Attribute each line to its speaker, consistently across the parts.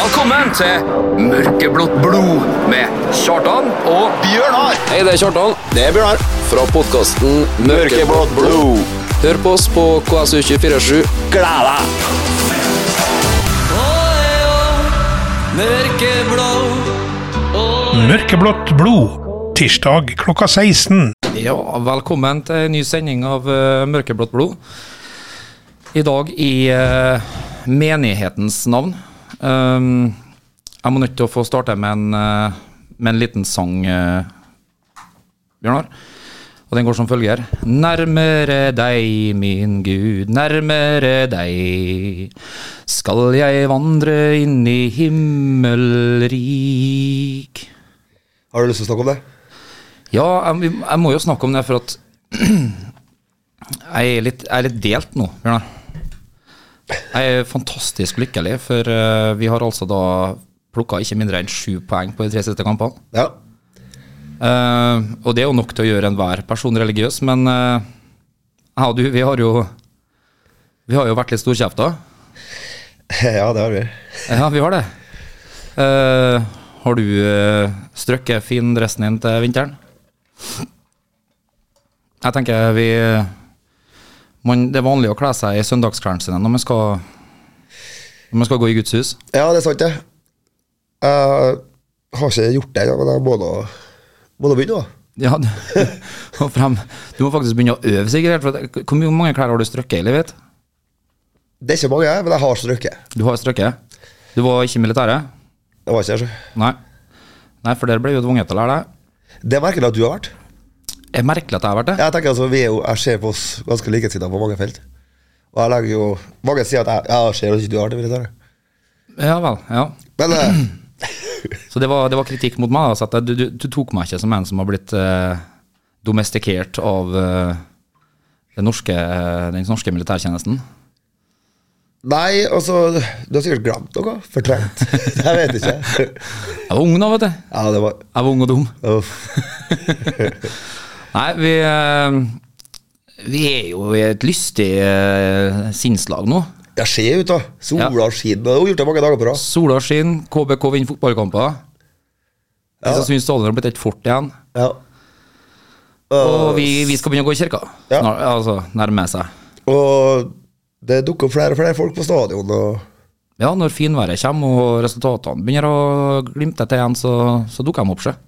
Speaker 1: Velkommen til Mørkeblått blod med Kjartan og
Speaker 2: Bjørnar
Speaker 3: Hei, det er Kjartan.
Speaker 2: Det er Bjørnar
Speaker 3: Fra podkasten
Speaker 2: Mørkeblått blod
Speaker 3: Hør på oss på KSU247.
Speaker 2: Gled deg
Speaker 4: Mørkeblått blod. Tirsdag klokka 16.
Speaker 1: Ja, velkommen til en ny sending av eh, Mørkeblått blod. I dag i eh, menighetens navn. Um, jeg må nødt til å få starte med en, eh, med en liten sang, eh, Bjørnar. Og den går som følger. Nærmere deg, min Gud, nærmere deg skal jeg vandre inn i himmelrik.
Speaker 5: Har du lyst til å snakke om det?
Speaker 1: Ja, jeg, vi- jeg må jo snakke om det, for at jeg er litt, jeg er litt delt nå, Bjørnar. Jeg er fantastisk lykkelig, for eh, vi har altså da plukka ikke mindre enn sju poeng på de tre siste kampene.
Speaker 5: Ja.
Speaker 1: Eh, og det er jo nok til å gjøre enhver person religiøs, men eh, jeg og du, vi har jo Vi har jo vært litt storkjefta.
Speaker 5: ja, det har vi.
Speaker 1: Ja, vi har det. Eh, har du eh, strøkket fin dressen din til vinteren? Jeg tenker vi man, Det er vanlig å kle seg i søndagsklærne sine når man skal, når man skal gå i Guds hus.
Speaker 5: Ja, det er sant, det. Jeg har ikke gjort det ennå, men jeg må nå, må nå begynne, da.
Speaker 1: Ja, du, og frem. du må faktisk begynne å øve, sikkert. For at- hvor mye- hvor mange klær har du strøkket i livet? ditt?
Speaker 5: Det er ikke mange, jeg, men jeg har strøkket.
Speaker 1: Du har strøkket. Du var ikke i militæret?
Speaker 5: Det var ikke det, så.
Speaker 1: Nei. Nei, for der ble du tvunget til å lære deg.
Speaker 5: Det merker jeg at du har vært.
Speaker 1: Det er merkelig at jeg har vært det.
Speaker 5: Jeg tenker altså, vi er jo, jeg ser på oss ganske likesinnede på mange felt. Og jeg legger jo Mange sier at jeg, jeg ser at ikke du har det militæret.
Speaker 1: Ja vel. ja.
Speaker 5: Men eh,
Speaker 1: Så det var, det var kritikk mot meg. Altså, at jeg- du, du, du tok meg ikke som en som har blitt eh, domestikert av eh, den, norske, eh, den norske militærtjenesten.
Speaker 5: Nei, altså Du har sikkert glemt noe. Fortrengt. Jeg vet ikke.
Speaker 1: Jeg var ung da, vet du.
Speaker 5: Ja, det var
Speaker 1: Jeg var ung og dum.
Speaker 5: Uff.
Speaker 1: Nei, vi, eh, vi er jo i et lystig eh, sinnslag nå.
Speaker 5: Jeg ser ut, da. Sola skinner. og Det har hun gjort det mange dager på rad.
Speaker 1: Sola skinner, KBK vinner fotballkamper. Kristiansund stadion har blitt et fort igjen.
Speaker 5: Ja.
Speaker 1: Og vi, vi skal begynne å gå i kirka.
Speaker 5: Ja.
Speaker 1: Snar, altså, nærme seg.
Speaker 5: Og det dukker opp flere og flere folk på stadion. Og
Speaker 1: Ja, når finværet kommer og resultatene begynner å glimte til igjen, så, så dukker de opp seg.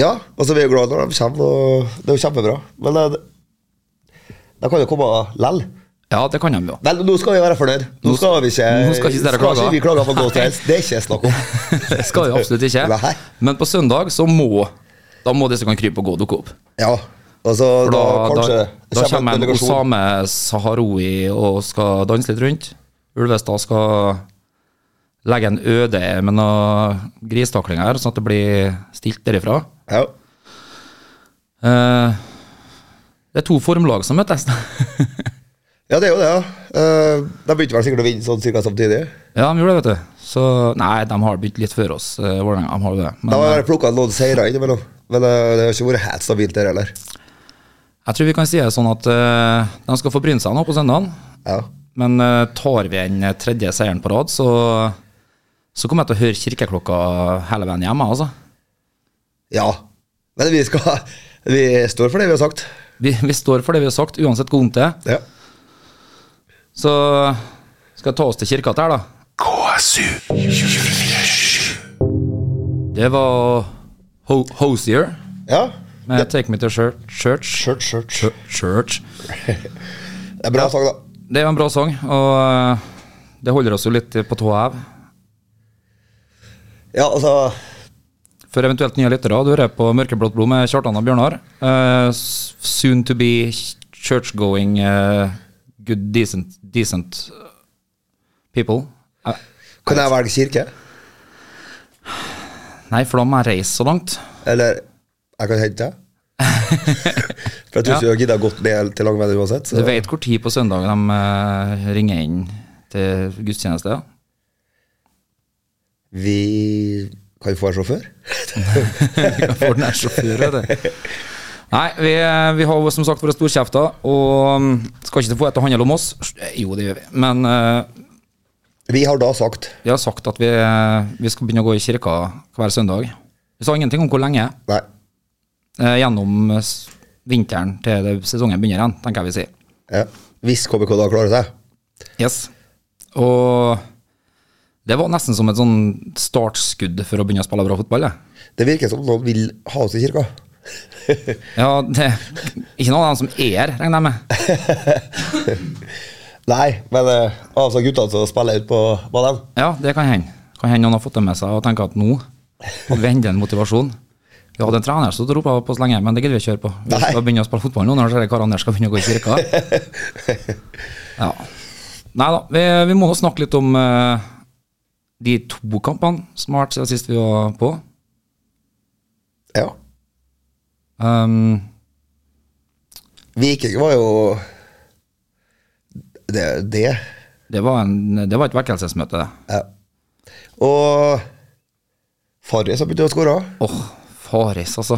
Speaker 5: ja, altså vi er jo glad når de kommer, og det er jo kjempebra. Men eh, de kan jo komme lell.
Speaker 1: Ja, det kan de jo.
Speaker 5: Vel, nå skal vi være fornøyd. Nå skal vi ikke,
Speaker 1: nå skal ikke dere klage.
Speaker 5: vi klage på noe som helst. Det er ikke snakk om.
Speaker 1: Det skal vi absolutt ikke.
Speaker 5: Nei.
Speaker 1: Men på søndag så må da må disse kan krype og gå og dukke opp.
Speaker 5: Ja, altså
Speaker 1: For
Speaker 5: da,
Speaker 1: da,
Speaker 5: kanskje
Speaker 1: da, da
Speaker 5: en
Speaker 1: kommer en
Speaker 5: delegasjon.
Speaker 1: Osame Saharoui og skal danse litt rundt. Ulvestad skal legge en øde med noen gristaklinger her, sånn at det blir stilt derifra.
Speaker 5: Ja.
Speaker 1: Eh, det er to formlag som møtes.
Speaker 5: ja, det er jo det. ja. Eh, de begynte vel sikkert å vinne sånn cirka samtidig.
Speaker 1: Ja, de gjorde det, vet du. Så, nei, de har begynt litt før oss. Eh, Vålerenga, de har jo det.
Speaker 5: De
Speaker 1: Men
Speaker 5: har bare plukka noen seire innimellom. Men eh, det har ikke vært helt stabilt der heller.
Speaker 1: jeg tror vi kan si det sånn at eh, de skal få bryne seg nå på søndagen.
Speaker 5: Ja.
Speaker 1: Men eh, tar vi den tredje seieren på rad, så, så kommer jeg til å høre kirkeklokka hele veien hjemme, altså.
Speaker 5: ja. Men vi skal Vi står for det vi har sagt.
Speaker 1: Vi, vi står for det vi har sagt, uansett hvor vondt det er.
Speaker 5: Ja.
Speaker 1: Så skal jeg ta oss til kirka til her, da. Det var Ho Hosier
Speaker 5: Ja.
Speaker 1: med 'Take Me To Church'. Church.
Speaker 5: Church, church.
Speaker 1: Chur- Church.
Speaker 5: Det er bra sang, da.
Speaker 1: Det er jo en bra sang, og eh, det holder oss jo litt på tå hev.
Speaker 5: Ja, altså
Speaker 1: For eventuelt nye lyttere, du hører på Mørkeblått blod med Kjartan og Bjørnar. Eh, s- soon to be church-going eh, good decent, decent people. Eh,
Speaker 5: Kan jeg velge kirke?
Speaker 1: nei, for da må jeg reise så langt.
Speaker 5: Eller jeg kan hente deg? For jeg tror ikke du gidder gått ned til Langveien uansett.
Speaker 1: Du
Speaker 5: Så.
Speaker 1: vet hvor tid på søndag de eh, ringer inn til gudstjeneste? ja.
Speaker 5: Vi kan jo få en sjåfør.
Speaker 1: Vi kan få den her sjåføren, vet du. Nei, vi, eh, vi har jo som sagt vært storkjefta, og mm, skal ikke få det til å handle om oss. Jo, det gjør vi, men eh,
Speaker 5: Vi har da sagt
Speaker 1: Vi har sagt at vi, vi skal begynne å gå i kirka hver søndag. Vi sa ingenting om hvor lenge.
Speaker 5: Nei.
Speaker 1: eh, Gjennom eh, s- vinteren til det sesongen begynner igjen, tenker jeg vi sier.
Speaker 5: Ja. Hvis KBK da klarer seg.
Speaker 1: Yes. Og det var nesten som et sånn startskudd for å begynne å spille bra fotball. Det.
Speaker 5: Det virker som noen vil ha oss i kirka.
Speaker 1: Ja, det, Ikke noen av dem som er her, regner jeg med.
Speaker 5: Nei, men eh, altså guttene som spiller ut på banen
Speaker 1: Ja, det kan hende. Kan hende noen har fått det med seg og tenker at nå må vi hente en motivasjon. Vi hadde en trener som ropa på oss lenge, men det gidder vi ikke høre på. Vi
Speaker 5: Nei.
Speaker 1: skal begynne å spille fotball nå når disse karene der skal begynne å gå i kirka. Ja. Nei da, vi, vi må nå snakke litt om eh, de to kampene som har vært siden sist vi var på.
Speaker 5: Ja.
Speaker 1: Um,
Speaker 5: Viking var jo Det. det.
Speaker 1: Det var, en, det var et vekkelsesmøte, det.
Speaker 5: Ja. Og Farris har begynt å skåre.
Speaker 1: Åh, Faris, altså.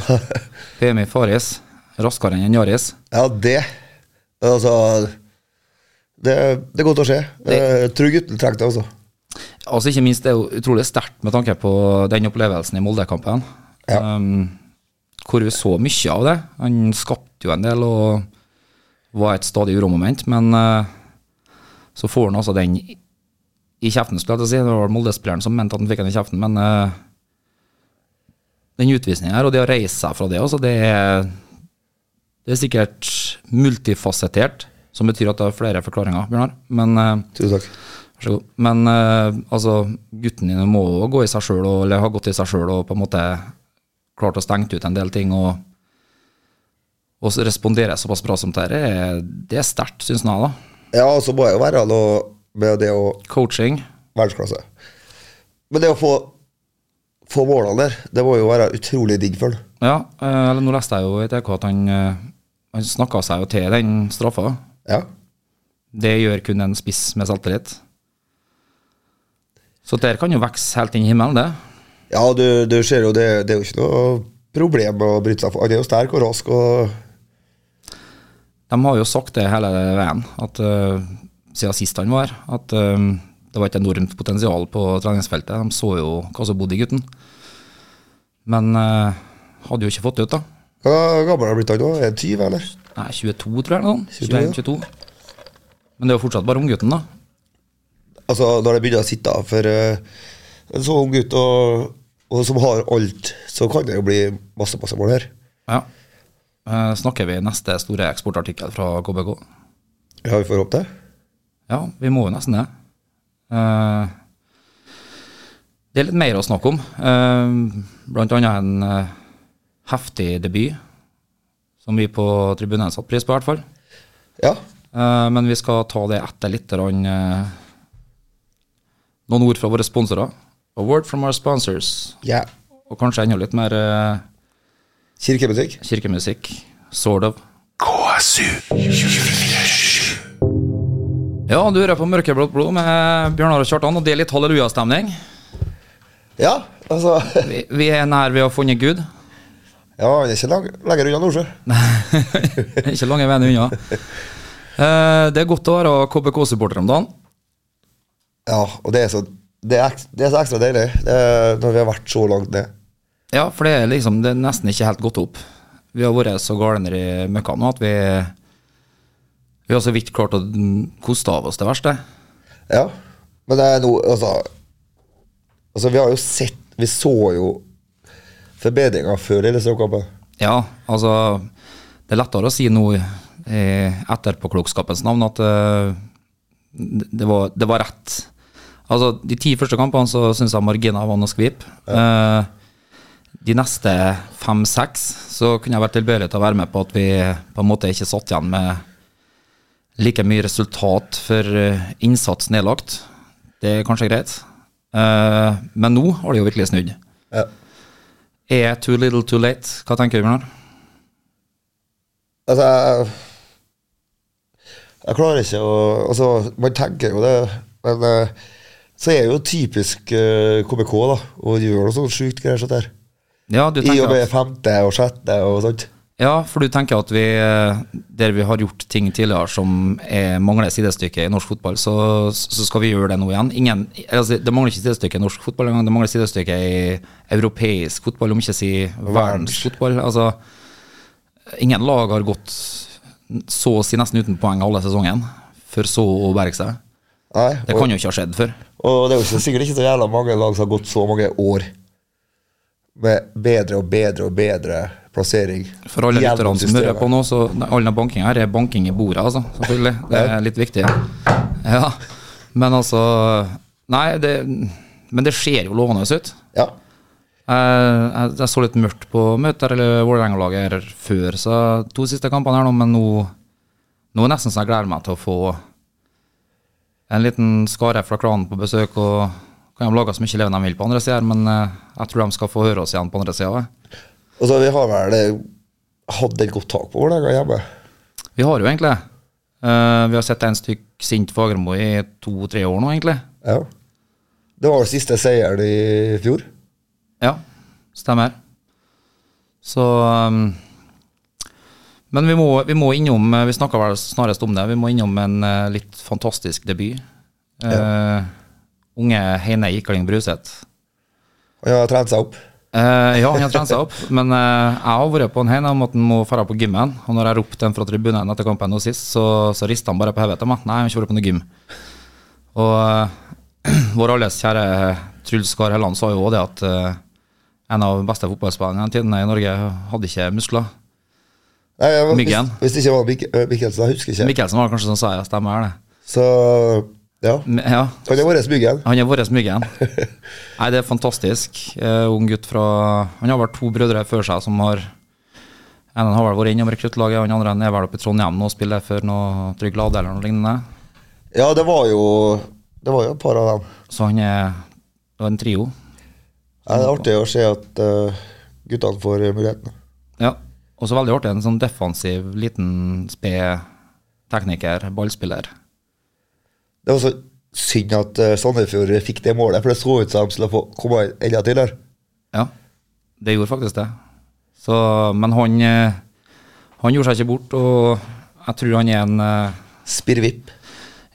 Speaker 1: PMI Faris. Raskere enn Jaris.
Speaker 5: Ja, det Altså Det, det er godt å se. Eh, tror gutten trengte det, altså.
Speaker 1: Altså, ikke minst, det er jo utrolig sterkt med tanke på den opplevelsen i Molde-kampen.
Speaker 5: Ja.
Speaker 1: Um, hvor vi så mye av det. Han skapte jo en del og var et stadig uromoment, men eh, så får han altså den i i kjeften, skulle jeg til å si. Det var vel Molde-spilleren som mente at han fikk den i kjeften, men eh, den utvisningen her, og det å reise seg fra det, altså, det er, det er sikkert multifasettert, som betyr at det er flere forklaringer, Bjørnar. Men eh,
Speaker 5: Tusen takk.
Speaker 1: Vær så god. Men eh, altså, guttene dine må jo gå i seg sjøl, eller ha gått i seg sjøl og på en måte klart å stenge ut en del ting. og og så respondere såpass bra som dette, er- det er sterkt, syns jeg. da.
Speaker 5: Ja, og så må jeg jo være noe med det å
Speaker 1: Coaching.
Speaker 5: verdensklasse. Men det å få, få målene der, det må jo være utrolig digg for han.
Speaker 1: Ja, eh, eller nå leste jeg jo i TK at han, eh, han snakka seg jo til den straffa.
Speaker 5: Ja.
Speaker 1: Det gjør kun en spiss med selvtillit. Så der kan jo vokse helt inn i himmelen, det.
Speaker 5: ja, du, du ser jo det, det er jo ikke noe problem med å bryte seg for. Han er jo sterk og rask og
Speaker 1: De har jo sagt det hele veien, at eh, siden sist han var her, at eh, det var et enormt potensial på treningsfeltet. De så jo hva som bodde i gutten. Men eh, hadde jo ikke fått det ut, da.
Speaker 5: Hva gammel er han blitt han nå? Er han 20, eller?
Speaker 1: Nei, 22, tror jeg. eller noe sånt.
Speaker 5: 22,
Speaker 1: 21, 22. Men det er jo fortsatt bare unggutten, da.
Speaker 5: Altså, når det begynner å sitte av for eh, en så ung gutt og, og som har alt, så kan det jo bli masse, masse mål her.
Speaker 1: Ja. Eh, snakker vi neste store eksportartikkel fra KBK?
Speaker 5: Ja, vi får håpe det.
Speaker 1: Ja, vi må jo nesten det. Eh, det er litt mer å snakke om. Eh, blant annet en eh, heftig debut, som vi på tribunen satte pris på, i hvert fall.
Speaker 5: Ja.
Speaker 1: Eh, men vi skal ta det etter litt. Rann, eh, noen ord fra våre sponsorer. A word from our sponsors.
Speaker 5: ja.
Speaker 1: Og kanskje enda litt mer eh,
Speaker 5: Kirkemusikk.
Speaker 1: kirkemusikk. Sort of. Ja, du hører på Mørkeblått blod med Bjørnar og Kjartan, og det er litt hallelujastemning.
Speaker 5: Ja, altså
Speaker 1: Vi, vi er nær ved å ha funnet Gud.
Speaker 5: Ja, han er ikke lang, lenger unna Nordsjø.
Speaker 1: Ikke lange veien unna. Eh, det er godt å være KBK-supporter om dagen.
Speaker 5: Ja, og det er så, det er ekstra, det er så ekstra deilig det er når vi har vært så langt ned.
Speaker 1: Ja, for det er liksom det er nesten ikke helt gått opp. Vi har vært så gale nede i møkka nå at vi Vi har så vidt klart å koste av oss det verste.
Speaker 5: Ja, men det er noe Altså, altså vi har jo sett Vi så jo forbedringer før Lillestrøm-kampen.
Speaker 1: Ja, altså Det er lettere å si nå eh, i etterpåklokskapens navn at eh, det det var, det var rett. Altså, de ti første kampene så syns jeg marginer var noe skvip. Eh, de neste fem-seks så kunne jeg vært tilbøyelig til å være med på at vi på en måte ikke satt igjen med like mye resultat for eh, innsats nedlagt. Det er kanskje greit. Eh, men nå har det jo virkelig snudd.
Speaker 5: Ja.
Speaker 1: Er too little too late? Hva tenker du, Bjørnar?
Speaker 5: Altså jeg, jeg klarer ikke å Altså, man tenker jo det, men eh, så er det jo typisk eh, KBK da å gjøre noe sånt sånn, sjukt greier sånt der.
Speaker 1: Ja, du
Speaker 5: I og
Speaker 1: tenker
Speaker 5: med
Speaker 1: at
Speaker 5: femte og sjette og sånt.
Speaker 1: Ja, for du tenker at vi, eh, der vi har gjort ting tidligere som er, mangler sidestykke i norsk fotball, så, så skal vi gjøre det nå igjen. Ingen, altså, det mangler ikke sidestykke i norsk fotball engang, det mangler sidestykke i europeisk fotball, om ikke si verdensfotball. Altså, ingen lag har gått så å si nesten uten poeng alle sesongen, for så å berge seg.
Speaker 5: Nei,
Speaker 1: Det
Speaker 5: og,
Speaker 1: kan jo ikke ha skjedd før.
Speaker 5: og det er jo ikke, sikkert ikke så jævla mange lag som har gått så mange år med bedre og bedre og bedre plassering.
Speaker 1: For alle
Speaker 5: gjennom
Speaker 1: lytterne som hører
Speaker 5: systemet.
Speaker 1: på nå, så nei, all den bankinga her er banking i bordet, altså. Selvfølgelig. Det er litt viktig. Ja. Men altså Nei, det Men det ser jo lovende ut.
Speaker 5: Ja.
Speaker 1: Jeg, jeg, jeg så litt mørkt på møter eller Vålerenga-laget her før, så to siste kampene her nå, men nå Nå er det nesten så jeg gleder meg til å få en liten skare fra klanen på besøk. og kan de lage så mye leven de vil på andre sida, men eh, jeg tror de skal få høre oss igjen på andre sida.
Speaker 5: Og så vi har vel eh, hatt et godt tak på Vålerenga hjemme.
Speaker 1: Vi har jo egentlig det. Eh, vi har sett en stykk sint Fagermo i to-tre år nå, egentlig.
Speaker 5: Ja. Det var vel siste seieren i fjor.
Speaker 1: Ja, stemmer. Så um, Men vi må, vi må innom eh, Vi snakka vel snarest om det. Vi må innom en eh, litt fantastisk debut. Eh, Unge Heine Ikling Bruseth.
Speaker 5: Han har trent seg opp.
Speaker 1: Eh, ja, han har trent seg opp, men eh, jeg har vært på en Heine om at han må dra på gymmen. Og når jeg ropte den fra tribunen etter kampen nå sist, så, så rista han bare på hodet til meg. Nei, han har ikke vært på noe gym. Og eh, vår alles kjære eh, Truls Skar Helland sa jo òg det at eh, en av de beste fotballspillerne gjennom tidene i Norge hadde ikke muskler.
Speaker 5: Nei, jeg, hvis,
Speaker 1: Myggen.
Speaker 5: hvis det ikke var Mik eh, Mikkelsen, jeg husker ikke.
Speaker 1: Mikkelsen var det kanskje som sa ja, stemmer det.
Speaker 5: Så ja.
Speaker 1: M- Ja,
Speaker 5: Han er vår Myggen.
Speaker 1: han er vår myggen. Nei, det er fantastisk. Eh, ung gutt fra Han har vel to brødre før seg som har En har vel vært innom rekruttlaget, og den andre er vel oppe i Trondheim nå og spiller for noe Trygg Lade eller noe lignende.
Speaker 5: Ja, det var jo Det var jo et par av dem.
Speaker 1: Så han er det er en trio.
Speaker 5: Ja, det er artig å se at eh, guttene får eh, muligheten.
Speaker 1: Ja. Og så veldig artig, en sånn defensiv, liten, sped tekniker, ballspiller.
Speaker 5: Det var så synd at eh, Sandefjord fikk det målet, for det så ut som de skulle få komme enda tidligere.
Speaker 1: Ja, det gjorde faktisk det. Så, men han, eh, han gjorde seg ikke bort, og jeg tror han er en eh,
Speaker 5: Spirrvipp.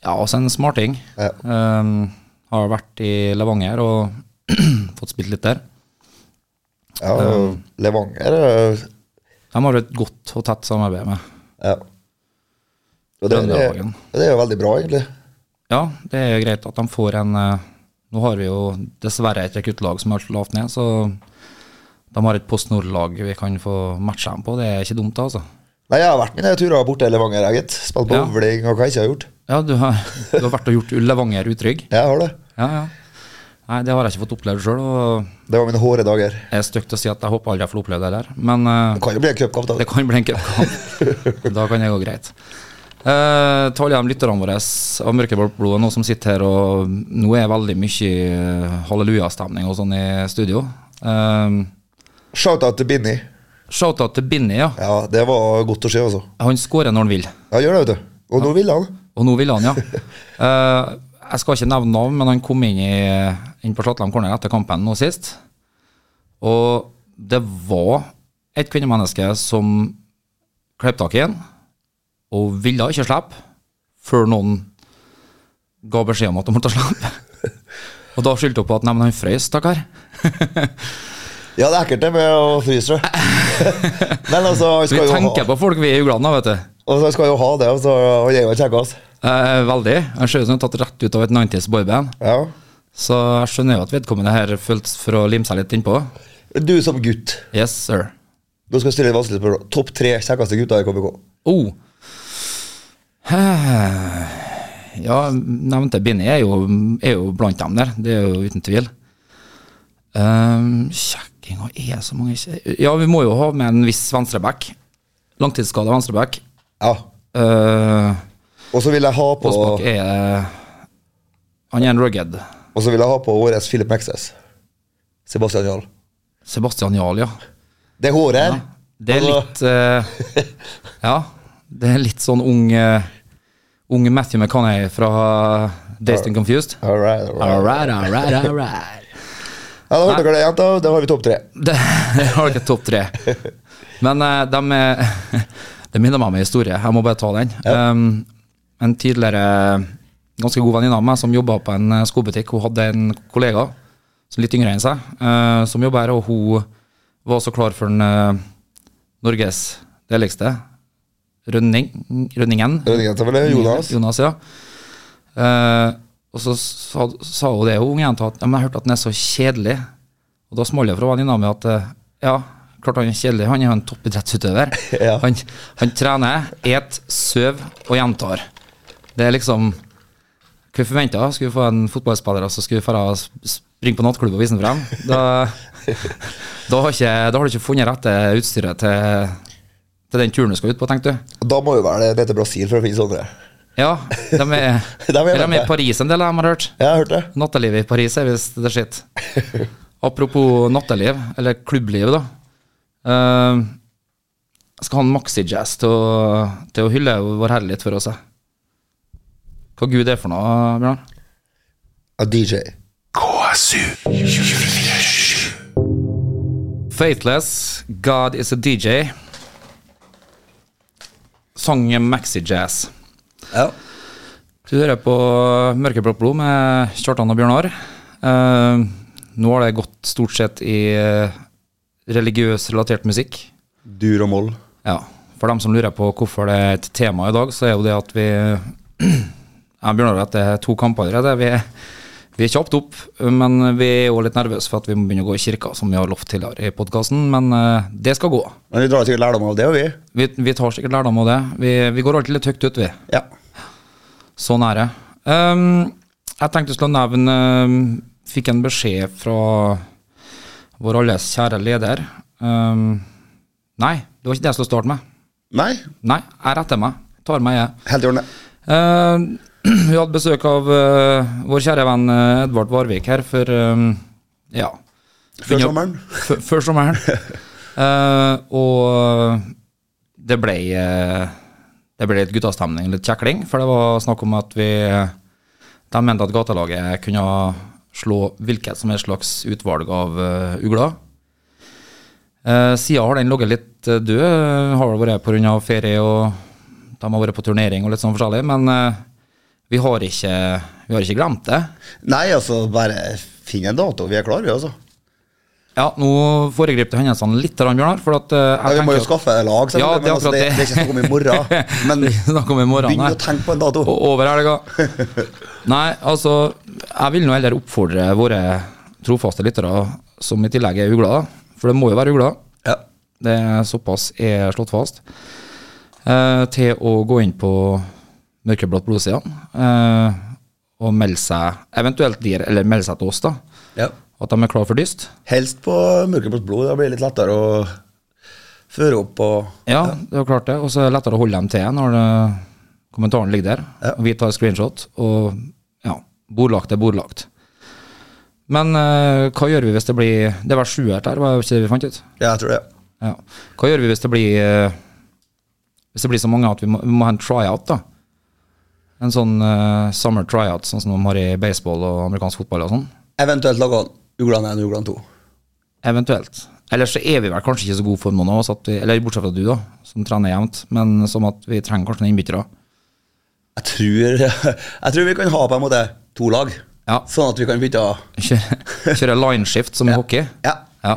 Speaker 1: Ja, også en smarting.
Speaker 5: Ja.
Speaker 1: Um, har vært i Levanger og fått spilt litt der.
Speaker 5: Ja, og Levanger eh,
Speaker 1: De har et godt og tett samarbeid med.
Speaker 5: Ja. Og det, det,
Speaker 1: Trønderhagen.
Speaker 5: det er jo veldig bra, egentlig.
Speaker 1: Ja, det er jo greit at de får en eh, Nå har vi jo dessverre et rekruttlag som er så lavt ned, så de har et Post Nord-lag vi kan få matche dem på. Det er ikke dumt, altså.
Speaker 5: Nei, Jeg har vært mine turer borte i Levanger, jeg, gitt. Spilt
Speaker 1: Ja.
Speaker 5: bowling og hva jeg ikke har gjort.
Speaker 1: Ja, du har, du har vært og gjort Levanger utrygg?
Speaker 5: Jeg har det.
Speaker 1: Ja, ja. Nei, det har jeg ikke fått opplevd sjøl, og
Speaker 5: Det var mine hårde dager.
Speaker 1: det er stygt å si at jeg håper aldri jeg får oppleve det der. Men eh,
Speaker 5: Det kan jo bli en cupkamp, da.
Speaker 1: Det kan bli en cupkamp. da kan det gå greit. Uh, Tar igjen lytterne våre av Mørkeblått blod, nå som sitter her og Nå er veldig mye eh, hallelujastemning og sånn i studio. Uh,
Speaker 5: Shout-out til Binni.
Speaker 1: Shout-out til Binni, ja.
Speaker 5: Ja, det var godt å se, altså.
Speaker 1: Han skårer når han vil.
Speaker 5: Ja, gjør det, vet du. Og nå ville han.
Speaker 1: Og nå ville han, ja. Eh, jeg skal ikke nevne navn, men han kom inn, i, inn på Slatland Corner etter kampen nå sist. Og det var et kvinnemenneske som kleip tak i han, og ville ikke slippe før noen ga beskjed om at han måtte slippe. Og da skyldte hun på at nei, men han frøs, stakkar.
Speaker 5: Ja, det er ekkelt det med å fryse, tror jeg. Men altså,
Speaker 1: Vi
Speaker 5: han skal, jo
Speaker 1: tenker
Speaker 5: ha,
Speaker 1: på folk vi er uglade av, vet du.
Speaker 5: altså, han skal jo ha det. Altså, han er jo en kjekkas.
Speaker 1: Eh, veldig. Han ser ut som han er tatt rett ut av et 90s boyband.
Speaker 5: Ja.
Speaker 1: Så jeg skjønner jo at vedkommende her føltes for å lime seg litt innpå.
Speaker 5: Du som gutt,
Speaker 1: Yes, sir.
Speaker 5: nå skal jeg stille et vanskelig spørsmål. Topp tre kjekkeste gutter i KBK?
Speaker 1: Oh. Ja, nevnte Binni er, jo- er jo blant dem der, det er jo uten tvil. Um, Kjekkinga er så mange kje- Ja, vi må jo ha med en viss venstreback. Langtidsskada venstreback.
Speaker 5: Ja.
Speaker 1: Uh,
Speaker 5: Og så vil jeg ha på
Speaker 1: Postbakk er Han er en rugged.
Speaker 5: Og så vil jeg ha på årets Philip Maxes. Sebastian Jarl.
Speaker 1: Sebastian Jarl, ja.
Speaker 5: Det håret her
Speaker 1: Det er
Speaker 5: altså,
Speaker 1: litt eh, Ja, det er litt sånn ung eh, Ung Matthew McConaughey fra Dazed and Confused.
Speaker 5: All right, all right.
Speaker 1: All right, all right, all right.
Speaker 5: Ja, da hørte dere det igjen, da. Da har vi topp tre.
Speaker 1: Det jeg har ikke topp tre. Men eh, de er- det minner meg om en historie. Jeg må bare ta den. Um, en tidligere ganske god venninne av meg som jobba på en eh, skobutikk, hun hadde en kollega som er litt yngre enn seg, eh, som jobber her, og hun var så klar for den eh, Norges deiligste. Rønning, Rønningen.
Speaker 5: Rønningen, selvfølgelig. Jonas.
Speaker 1: Jonas, ja. Eh, og så sa, sa hun det, hun jenta, at ja, men jeg hørte at den er så kjedelig. Og da smalt det fra venninna mi at eh, ja, klart han er kjedelig, han er jo en toppidrettsutøver.
Speaker 5: Ja.
Speaker 1: han, han trener, et, søv og gjentar. Det er liksom Hva forventa? Skulle vi få en fotballspiller som skulle fara og sp- springe på nattklubb og vise den frem? Da, da, har ikke, da har du ikke funnet rette utstyret til, til den turen du skal ut på, tenkte du.
Speaker 5: Da må jo være det nede til Brasil for å finne sånne.
Speaker 1: Ja, de er,
Speaker 5: De er
Speaker 1: er de
Speaker 5: med.
Speaker 1: i Paris en del, har jeg hørt.
Speaker 5: Jeg har hørt det.
Speaker 1: Nattelivet i Paris er visst det shit. Apropos natteliv, eller klubbliv, da. Eh, jeg skal ha en maxi-jazz til, å- til å hylle vår Herre litt for oss. jeg. Hva Gud er for noe, Bjørn?
Speaker 5: Ja, DJ.
Speaker 4: KSU.
Speaker 1: Faithless, God is a DJ. Sangen maxi-jazz.
Speaker 5: Ja.
Speaker 1: Du hører på Mørkeblått blod med Kjartan og Bjørnar. Eh, nå har det gått stort sett i eh, religiøs relatert musikk.
Speaker 5: Dur og moll.
Speaker 1: Ja, For dem som lurer på hvorfor det er et tema i dag, så er jo det at vi Jeg og Bjørnar at det er to kamper allerede. Vi er, vi er kjapt opp, men vi er jo litt nervøse for at vi må begynne å gå i kirka, som vi har lovt tidligere i podkasten. Men eh, det skal gå.
Speaker 5: Men vi drar sikkert lærdom av det, og vi.
Speaker 1: Vi, vi tar sikkert lærdom av det. Vi, vi går alltid litt høyt ut, vi.
Speaker 5: Ja.
Speaker 1: Sånn er det. Ehm, jeg tenkte jeg skulle nevne ehm, Fikk en beskjed fra vår alles kjære leder. Ehm, nei, det var ikke det jeg skulle starte med.
Speaker 5: Nei,
Speaker 1: Nei, jeg retter meg. Tar meg i.
Speaker 5: helt i orden.
Speaker 1: Ehm, vi hadde besøk av eh, vår kjære venn eh, Edvard Varvik her for ehm, ja.
Speaker 5: Før
Speaker 1: Begynner-
Speaker 5: sommeren.
Speaker 1: F- Før sommeren. Eh, og det ble eh, Det ble litt guttastemning, litt kjekling, for det var snakk om at vi De mente at gatelaget kunne slå hvilket som helst slags utvalg av eh, ugler. Uh, Sida har den ligget litt eh, død. Har vel vært pga. ferie, og de har vært på turnering og litt sånn forskjellig. Men eh, vi, har ikke, vi har ikke glemt det.
Speaker 5: Nei, altså, bare finn en dato. Vi er klar, vi, altså.
Speaker 1: Ja, nå foregriper jeg hendelsene litt, Bjørnar. For at, eh, jeg
Speaker 5: Ja, vi må
Speaker 1: tenker
Speaker 5: jo
Speaker 1: at-
Speaker 5: skaffe lag, selvfølgelig,
Speaker 1: Ja, det
Speaker 5: men
Speaker 1: er
Speaker 5: altså,
Speaker 1: akkurat
Speaker 5: det, det er ikke snakk om i morgen. Men
Speaker 1: Det er ikke snakk om i morgen,
Speaker 5: begynn
Speaker 1: nei.
Speaker 5: å tenke på en dato.
Speaker 1: O- Over helga. Nei, altså, jeg vil nå heller oppfordre våre trofaste lyttere, som i tillegg er ugler, da, for det må jo være ugler,
Speaker 5: Ja.
Speaker 1: det er såpass er slått fast, eh, til å gå inn på Mørkeblått blodsida eh, og melde seg, eventuelt der, eller melde seg til oss, da.
Speaker 5: Ja.
Speaker 1: At de er klar for dyst.
Speaker 5: Helst på mørkeblått blod. Da blir det litt lettere å føre opp og
Speaker 1: Ja, det er jo klart det. Og så er det lettere å holde dem til når eh, kommentaren ligger der.
Speaker 5: Ja.
Speaker 1: Og vi tar screenshot, og ja, bordlagt er bordlagt. Men eh, hva gjør vi hvis det blir Det var sjuert der, var det ikke det vi fant ut?
Speaker 5: Ja, jeg tror det.
Speaker 1: Ja. Hva gjør vi hvis det blir eh, Hvis det blir så mange at vi må, vi må ha en tryout, da? En sånn eh, summer tryout, sånn som de har i baseball og amerikansk fotball og sånn?
Speaker 5: Eventuelt lage Uglene 1 og Uglene 2.
Speaker 1: Eventuelt. Ellers så er vi vel kanskje ikke så gode for noen av oss, at vi, eller bortsett fra du, da, som trener jevnt, men som at vi trenger kanskje noen innbyttere.
Speaker 5: Jeg tror, jeg tror vi kan ha på en måte to lag,
Speaker 1: Ja.
Speaker 5: sånn at vi kan bytte
Speaker 1: Kjøre, kjøre lineshift som i hockey.
Speaker 5: Ja.
Speaker 1: Ja.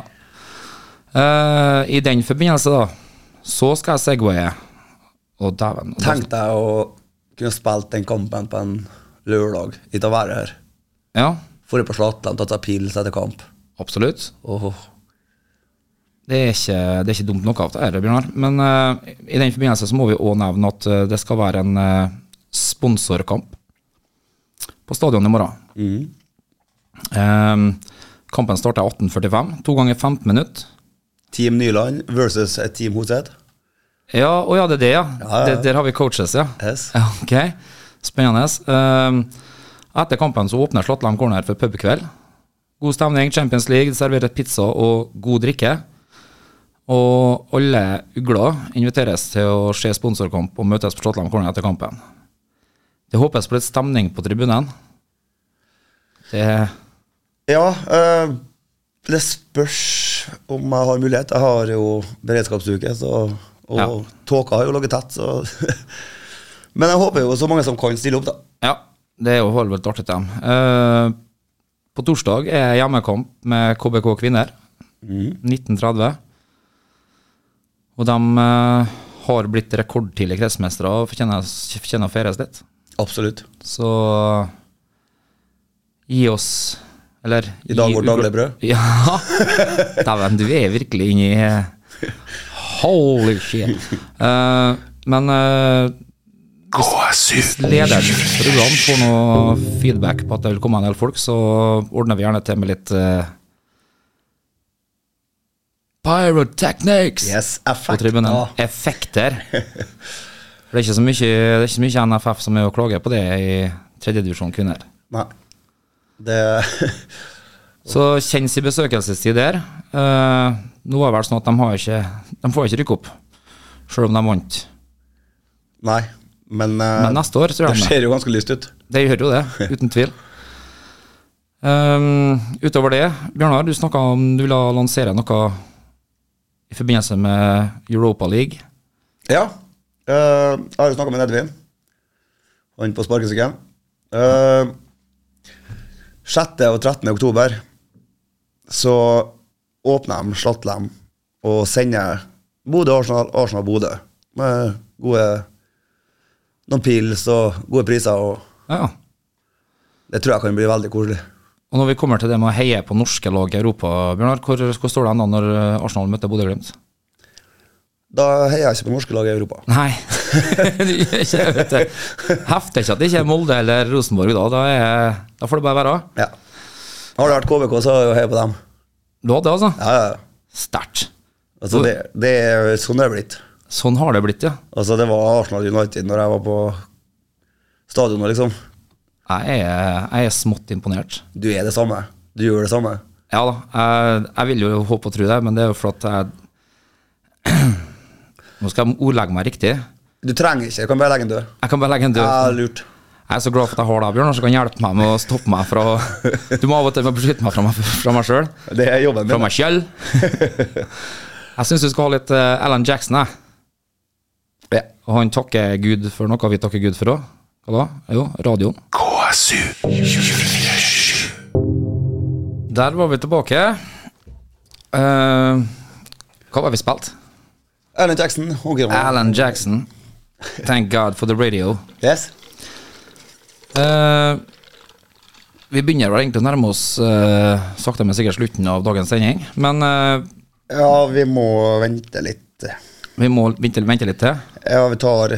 Speaker 1: Eh, I den forbindelse, da, så skal jeg segwaye. Å, dæven. Og da-
Speaker 5: Tenk deg å kunne spilt den kampen på en lørdag, ikke å være her.
Speaker 1: Ja,
Speaker 5: Forrige på Slatland, tatt seg pils etter kamp.
Speaker 1: absolutt.
Speaker 5: Åh.
Speaker 1: Det er ikke, det er ikke dumt nok av det, her, Bjørnar. Men eh, i den forbindelse så må vi òg nevne at eh, det skal være en eh, sponsorkamp på stadionet i morgen.
Speaker 5: Mm.
Speaker 1: Eh, kampen starter 18.45. To ganger 15 minutter.
Speaker 5: Team Nyland versus et Team Hosed.
Speaker 1: Ja, å ja, det er det, ja.
Speaker 5: Ja, ja, ja.
Speaker 1: Det, der har vi coaches, ja.
Speaker 5: Yes.
Speaker 1: ja ok, spennende. Ehm, etter kampen så åpner Slatland Corner for pubkveld. God stemning, Champions League, det serveres pizza og god drikke. Og alle ugler inviteres til å se sponsorkamp og møtes på Slatland Corner etter kampen. Det håpes på litt stemning på tribunen. Det
Speaker 5: Ja, eh, Det spørs om jeg har mulighet. Jeg har jo beredskapsuke, så, og
Speaker 1: Ja.
Speaker 5: tåka har jo ligget tett, så Men jeg håper jo så mange som kan stille opp, da.
Speaker 1: Ja, det er jo vel artig til dem. Eh, på torsdag er hjemmekamp med KBK Kvinner.
Speaker 5: Mm.
Speaker 1: 1930. Og de eh, har blitt rekordtidlige kretsmestere og fortjener fortjener å feires litt.
Speaker 5: Absolutt.
Speaker 1: Så gi oss Eller
Speaker 5: I dag
Speaker 1: gi
Speaker 5: vårt
Speaker 1: ugl-
Speaker 5: daglige brød.
Speaker 1: Ja. Dæven, du er virkelig inni Holy shit. Eh, men eh,
Speaker 4: KSU.
Speaker 1: lederens program får noe feedback på at det vil komme en del folk, så ordner vi gjerne til med litt eh, Pyrotechnics
Speaker 5: Yes,
Speaker 1: på
Speaker 5: effekt.
Speaker 1: tribunen.
Speaker 5: Ja.
Speaker 1: Effekter. For det er ikke så mye, det er ikke så mye NFF som er å klage på det i tredjedivisjon kvinner.
Speaker 5: Nei. Det
Speaker 1: Så kjennes i besøkelsestid der. Eh, nå er det vel sånn at de, har ikke, de får ikke rykke opp, selv om de vant.
Speaker 5: Nei. Men, eh,
Speaker 1: Men neste år, tror jeg.
Speaker 5: det ser jo ganske lyst ut.
Speaker 1: Det gjør jo det, uten tvil. Ehm, utover det, Bjørnar, du snakka om du ville lansere noe i forbindelse med Europa League.
Speaker 5: Ja. eh, jeg har jo snakka med Edvin. Han på sparkesykkelen. Eh, 6. og 13. oktober så åpner de Slatlem og sender Bodø-Arsenal, Arsenal-Bodø med gode noen pils og gode priser. og
Speaker 1: Ja.
Speaker 5: Det tror jeg kan bli veldig koselig.
Speaker 1: Og når vi kommer til det med å heie på norske lag i Europa, Bjørnar, hvor, hvor står det an da når eh, Arsenal møter Bodø-Glimt?
Speaker 5: Da heier jeg ikke på norske lag i Europa.
Speaker 1: Nei, du gjør ikke det, vet du. Hefter ikke at det ikke er Molde eller Rosenborg da. Da, er, da får det bare være.
Speaker 5: Ja. Har det vært KBK, så heier jeg på dem.
Speaker 1: Du hadde det, altså?
Speaker 5: Ja, ja, ja.
Speaker 1: Sterkt.
Speaker 5: Altså, det, det er sånn det er blitt.
Speaker 1: Sånn har det blitt, ja.
Speaker 5: Altså, det var Arsenal United når jeg var på stadionet, liksom.
Speaker 1: Jeg er, jeg er smått imponert.
Speaker 5: Du er det samme. Du gjør det samme.
Speaker 1: Ja da, jeg, jeg vil jo håpe og tro det, men det er jo for at jeg Nå skal jeg ordlegge meg riktig. Jeg
Speaker 5: Du trenger ikke. Du kan bare legge den død.
Speaker 1: kan bare legge en
Speaker 5: Ja,
Speaker 1: død.
Speaker 5: lurt.
Speaker 1: Jeg er så glad for at jeg har deg, Bjørnar, som kan hjelpe meg med å stoppe meg fra å- Du må av og til bare beskytte meg fra meg, fra meg sjøl.
Speaker 5: Det er jobben
Speaker 1: Fra
Speaker 5: min.
Speaker 1: meg sjøl. Jeg syns du skal ha litt eh, Alan Jackson, jeg.
Speaker 5: Ja.
Speaker 1: Og han takker Gud for noe vi takker Gud for òg. Hva da? Jo, radioen.
Speaker 4: KSU.
Speaker 1: Der var vi tilbake. Eh, hva var vi spilt?
Speaker 5: Erlend Jackson. Honky Tonk.
Speaker 1: Alan Jackson. Thank God for the radio.
Speaker 5: Yes.
Speaker 1: Eh, vi begynner vel egentlig å nærme oss eh, sakte, men sikkert slutten av dagens sending. Men eh,
Speaker 5: Ja, vi må vente litt.
Speaker 1: vi må vente, vente litt til.
Speaker 5: Ja, vi tar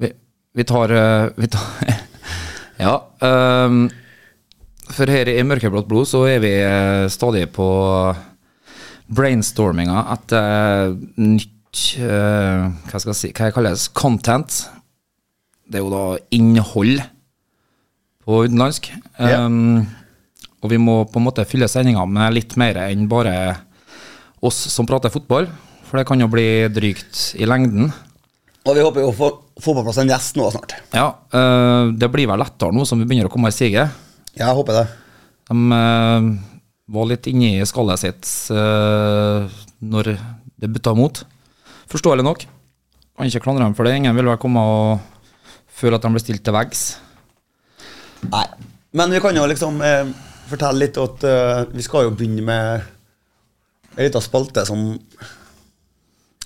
Speaker 1: Vi, vi tar, eh, vi tar Ja. ehm, for her i Mørkeblått blod så er vi eh, stadig på brainstorminga etter nytt eh, Hva skal jeg si, hva jeg kalles content. Det er jo da innhold på utenlandsk.
Speaker 5: Ja.
Speaker 1: Ehm, og vi må på en måte fylle sendinga med litt mer enn bare oss som prater fotball. For det kan jo bli drygt i lengden.
Speaker 5: Og vi håper jo å få, få på plass en gjest nå snart.
Speaker 1: Ja, eh, det blir vel lettere nå som vi begynner å komme i stiget.
Speaker 5: Ja, jeg håper det.
Speaker 1: De eh, var litt inni skallet sitt eh, når det butta mot. Forståelig nok. Kan ikke klandre dem for det. Ingen vil vel komme og føle at de blir stilt til veggs.
Speaker 5: Nei. Men vi kan jo liksom eh, fortelle litt at eh, vi skal jo begynne med en liten spalte som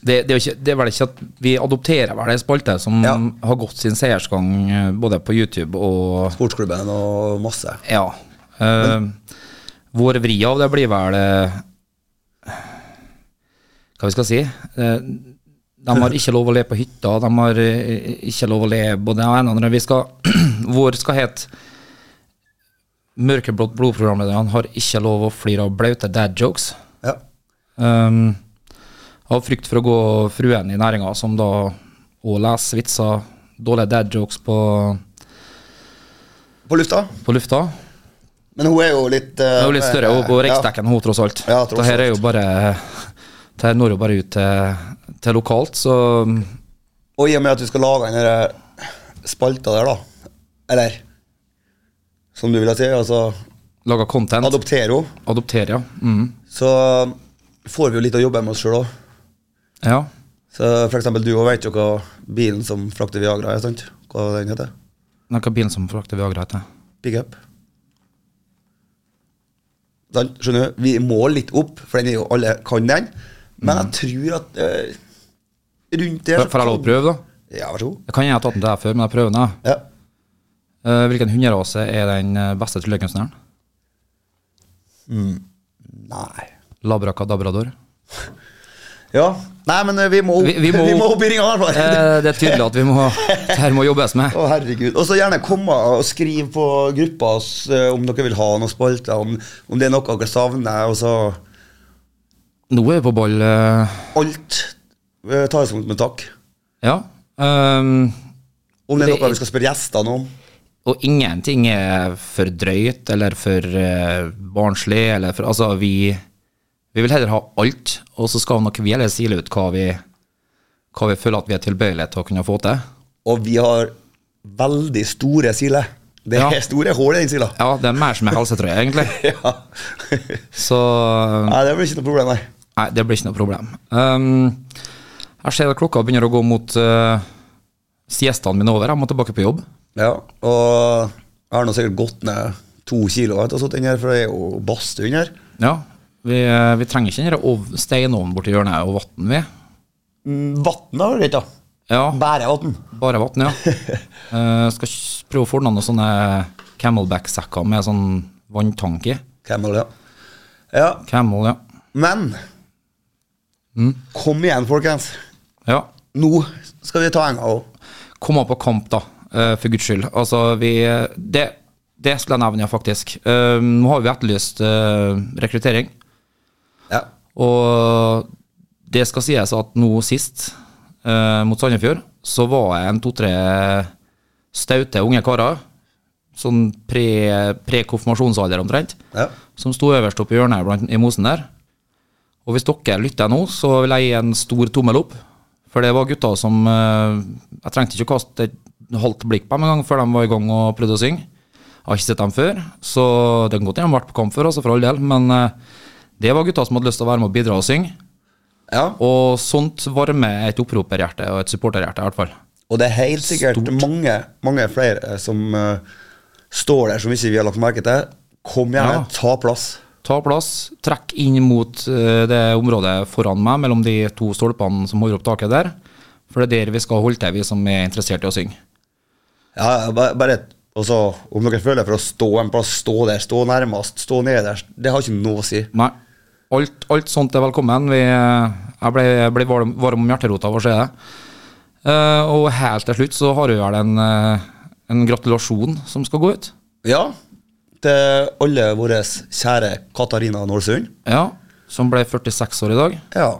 Speaker 1: Det, det, er jo ikke, det er vel ikke at Vi adopterer vel ei spalte som
Speaker 5: Ja.
Speaker 1: har gått sin seiersgang eh, både på YouTube og
Speaker 5: Sportsklubben og masse.
Speaker 1: Ja. Eh, vår vri av det blir vel eh, Hva vi skal si? Eh, de har ikke lov å le på hytta, de har eh, ikke lov å le både det ene og det andre. Vi skal, vår skal hete Mørkeblått blodprogramlederne har ikke lov å flire av blaute dad jokes.
Speaker 5: Ja.
Speaker 1: Um, av frykt for å gå fruen i næringa, som da å lese vitser, dårlige dad jokes på,
Speaker 5: På lufta.
Speaker 1: på lufta.
Speaker 5: Men hun er jo litt eh,
Speaker 1: Det er jo litt større og på riksdekken, hun, tross alt.
Speaker 5: Ja, tross
Speaker 1: det her er
Speaker 5: alt.
Speaker 1: jo bare Det her når jo bare ut til, til lokalt, så mm,
Speaker 5: Ja. Og i og med at vi skal lage den eh, der spalta der, da. Eller som du ville si, altså
Speaker 1: Laga content.
Speaker 5: Adoptere henne.
Speaker 1: Adoptere, ja. Mm.
Speaker 5: Så får vi jo litt å jobbe med oss sjøl òg.
Speaker 1: ja.
Speaker 5: Så for eksempel, du òg vet jo hva bilen som frakter Viagra, er, sant? Hva den heter?
Speaker 1: Nei, Hva bilen som frakter Viagra heter?
Speaker 5: Pickup. Sant? Skjønner du? Vi må litt opp, for den er jo alle kan den. Men jeg tror at eh, rundt der
Speaker 1: Mm. Får får jeg lov å prøve, da?
Speaker 5: Ja, vær så god.
Speaker 1: Jeg kan gjerne ha tatt den til deg før, men jeg prøver den. jeg.
Speaker 5: Ja.
Speaker 1: Eh, hvilken hunderase er den eh, beste tryllekunstneren?
Speaker 5: Nei.
Speaker 1: Labrakadabrador?
Speaker 5: Ja. Nei, men eh, vi må opp,
Speaker 1: Vi- vi må opp.
Speaker 5: opp i ringa, i hvert fall.
Speaker 1: Eh, det er tydelig at vi må det her må jobbes med.
Speaker 5: Å, herregud. Og så gjerne komme og skrive på gruppa oss, eh, om dere vil ha noen spalter, om, om det er noe dere savner. Og så
Speaker 1: Nå er vi på ball. eh,
Speaker 5: alt eh, tas imot med takk.
Speaker 1: ja. Ehm,
Speaker 5: Om det er
Speaker 1: Det er-
Speaker 5: noe vi skal spørre gjestene om.
Speaker 1: og ingenting er for drøyt eller for eh, barnslig. Eller for, altså, vi, vi vil heller ha alt, og så skal nok vi heller sile ut hva vi, hva vi føler at vi er tilbøyelige til å kunne få til.
Speaker 5: Og vi har veldig store siler. Det
Speaker 1: Ja.
Speaker 5: er store hull i den sila.
Speaker 1: Ja, det er mer som en helsetrøye, egentlig.
Speaker 5: Ja.
Speaker 1: Så
Speaker 5: Nei, det blir ikke noe problem, nei.
Speaker 1: nei, det blir ikke noe problem. Ehm, jeg ser at klokka begynner å gå mot uh, siestaen min er over. Jeg må tilbake på jobb.
Speaker 5: Ja, og jeg har nå sikkert gått ned to kilo etter å ha sittet inne her, for det er jo badstue inne her.
Speaker 1: Ja, vi, eh, vi trenger ikke den der ov- steinovnen borti hjørnet og vann, vi.
Speaker 5: Mm, Vann har vi greit, da.
Speaker 1: Ja,
Speaker 5: Bare vann.
Speaker 1: bare vann, ja. Eh, skal ikke prøve å få ordna noen sånne camelback-sekker med sånn vanntank i.
Speaker 5: Camel, ja. ja.
Speaker 1: Camel, ja.
Speaker 5: Men kom igjen, folkens.
Speaker 1: ja.
Speaker 5: Nå skal vi ta enga òg.
Speaker 1: Kom opp på kamp, da, eh, for guds skyld. Altså, vi Det, det skulle jeg nevne, ja, faktisk. Eh, nå har vi etterlyst eh, rekruttering.
Speaker 5: Ja.
Speaker 1: Og det skal sies at nå sist, eh, mot Sandefjord, så var jeg en to-tre staute unge karer, sånn pre- pre-konfirmasjonsalder omtrent,
Speaker 5: Ja.
Speaker 1: som sto øverst oppe i hjørnet blant, i mosen der. Og hvis dere lytter nå, så vil jeg gi en stor tommel opp. For det var gutter som eh, Jeg trengte ikke å kaste et halvt blikk på dem engang før de var i gang og prøvde å synge. Jeg har ikke sett dem før, så det kan godt hende de har vært på kamp før, altså for all del. Men eh, det var gutter som hadde lyst til å være med og bidra og synge.
Speaker 5: ja.
Speaker 1: Og sånt varmer et opproperhjerte og et supporterhjerte, i hvert fall.
Speaker 5: Og det er helt sikkert mange, mange flere som eh, står der som ikke vi har lagt merke til. Kom gjerne,
Speaker 1: Ja.
Speaker 5: ta plass.
Speaker 1: Ta plass, trekk inn mot eh, det området foran meg, mellom de to stolpene som holder opp taket der. For det er der vi skal holde til, vi som er interessert i å synge.
Speaker 5: Ja, ja, ba- bare et- og så, Om dere føler for å stå en plass, stå der, stå nærmest, stå nederst. Det har ikke noe å si.
Speaker 1: Nei. Alt, alt sånt er velkommen. Vi, jeg ble, jeg ble varm, varm om hjerterota av å se det. Eh, og helt til slutt så har vi vel en, eh, en gratulasjon som skal gå ut.
Speaker 5: Ja, til alle våre kjære Katarina Nålsund.
Speaker 1: Ja, Som ble 46 år i dag.
Speaker 5: Ja.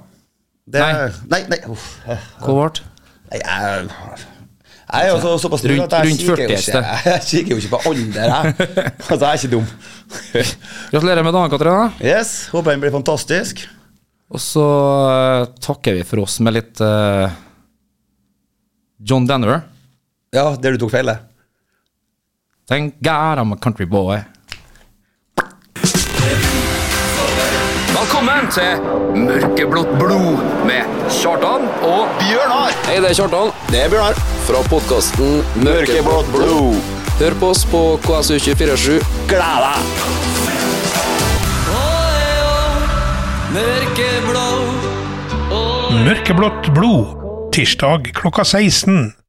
Speaker 5: Det,
Speaker 1: Nei.
Speaker 5: Nei, nei, uff.
Speaker 1: Hva ble det?
Speaker 5: Nei, jeg, jeg er jo så, såpass stor
Speaker 1: Rundt-
Speaker 5: at jeg
Speaker 1: rundt
Speaker 5: kikker, jo
Speaker 1: 40
Speaker 5: ikke, jeg kikker jo ikke på alder, jeg. Altså, jeg er ikke dum.
Speaker 1: Gratulerer med dagen, Katrine.
Speaker 5: Yes, Håper den blir fantastisk.
Speaker 1: Og så eh, takker vi for oss med litt eh, John Denver.
Speaker 5: Ja, der du tok feil, det.
Speaker 1: Thank God I'm a country boy.
Speaker 3: Velkommen til
Speaker 1: Mørkeblått blod med Kjartan og
Speaker 3: Hei, det er Kjartan. Det er Bjørnar. Fra podkasten
Speaker 2: Mørkeblått blod.
Speaker 3: Hør på oss på KSU247.
Speaker 2: Glada.
Speaker 4: Mørkeblått blod. Tirsdag klokka 16.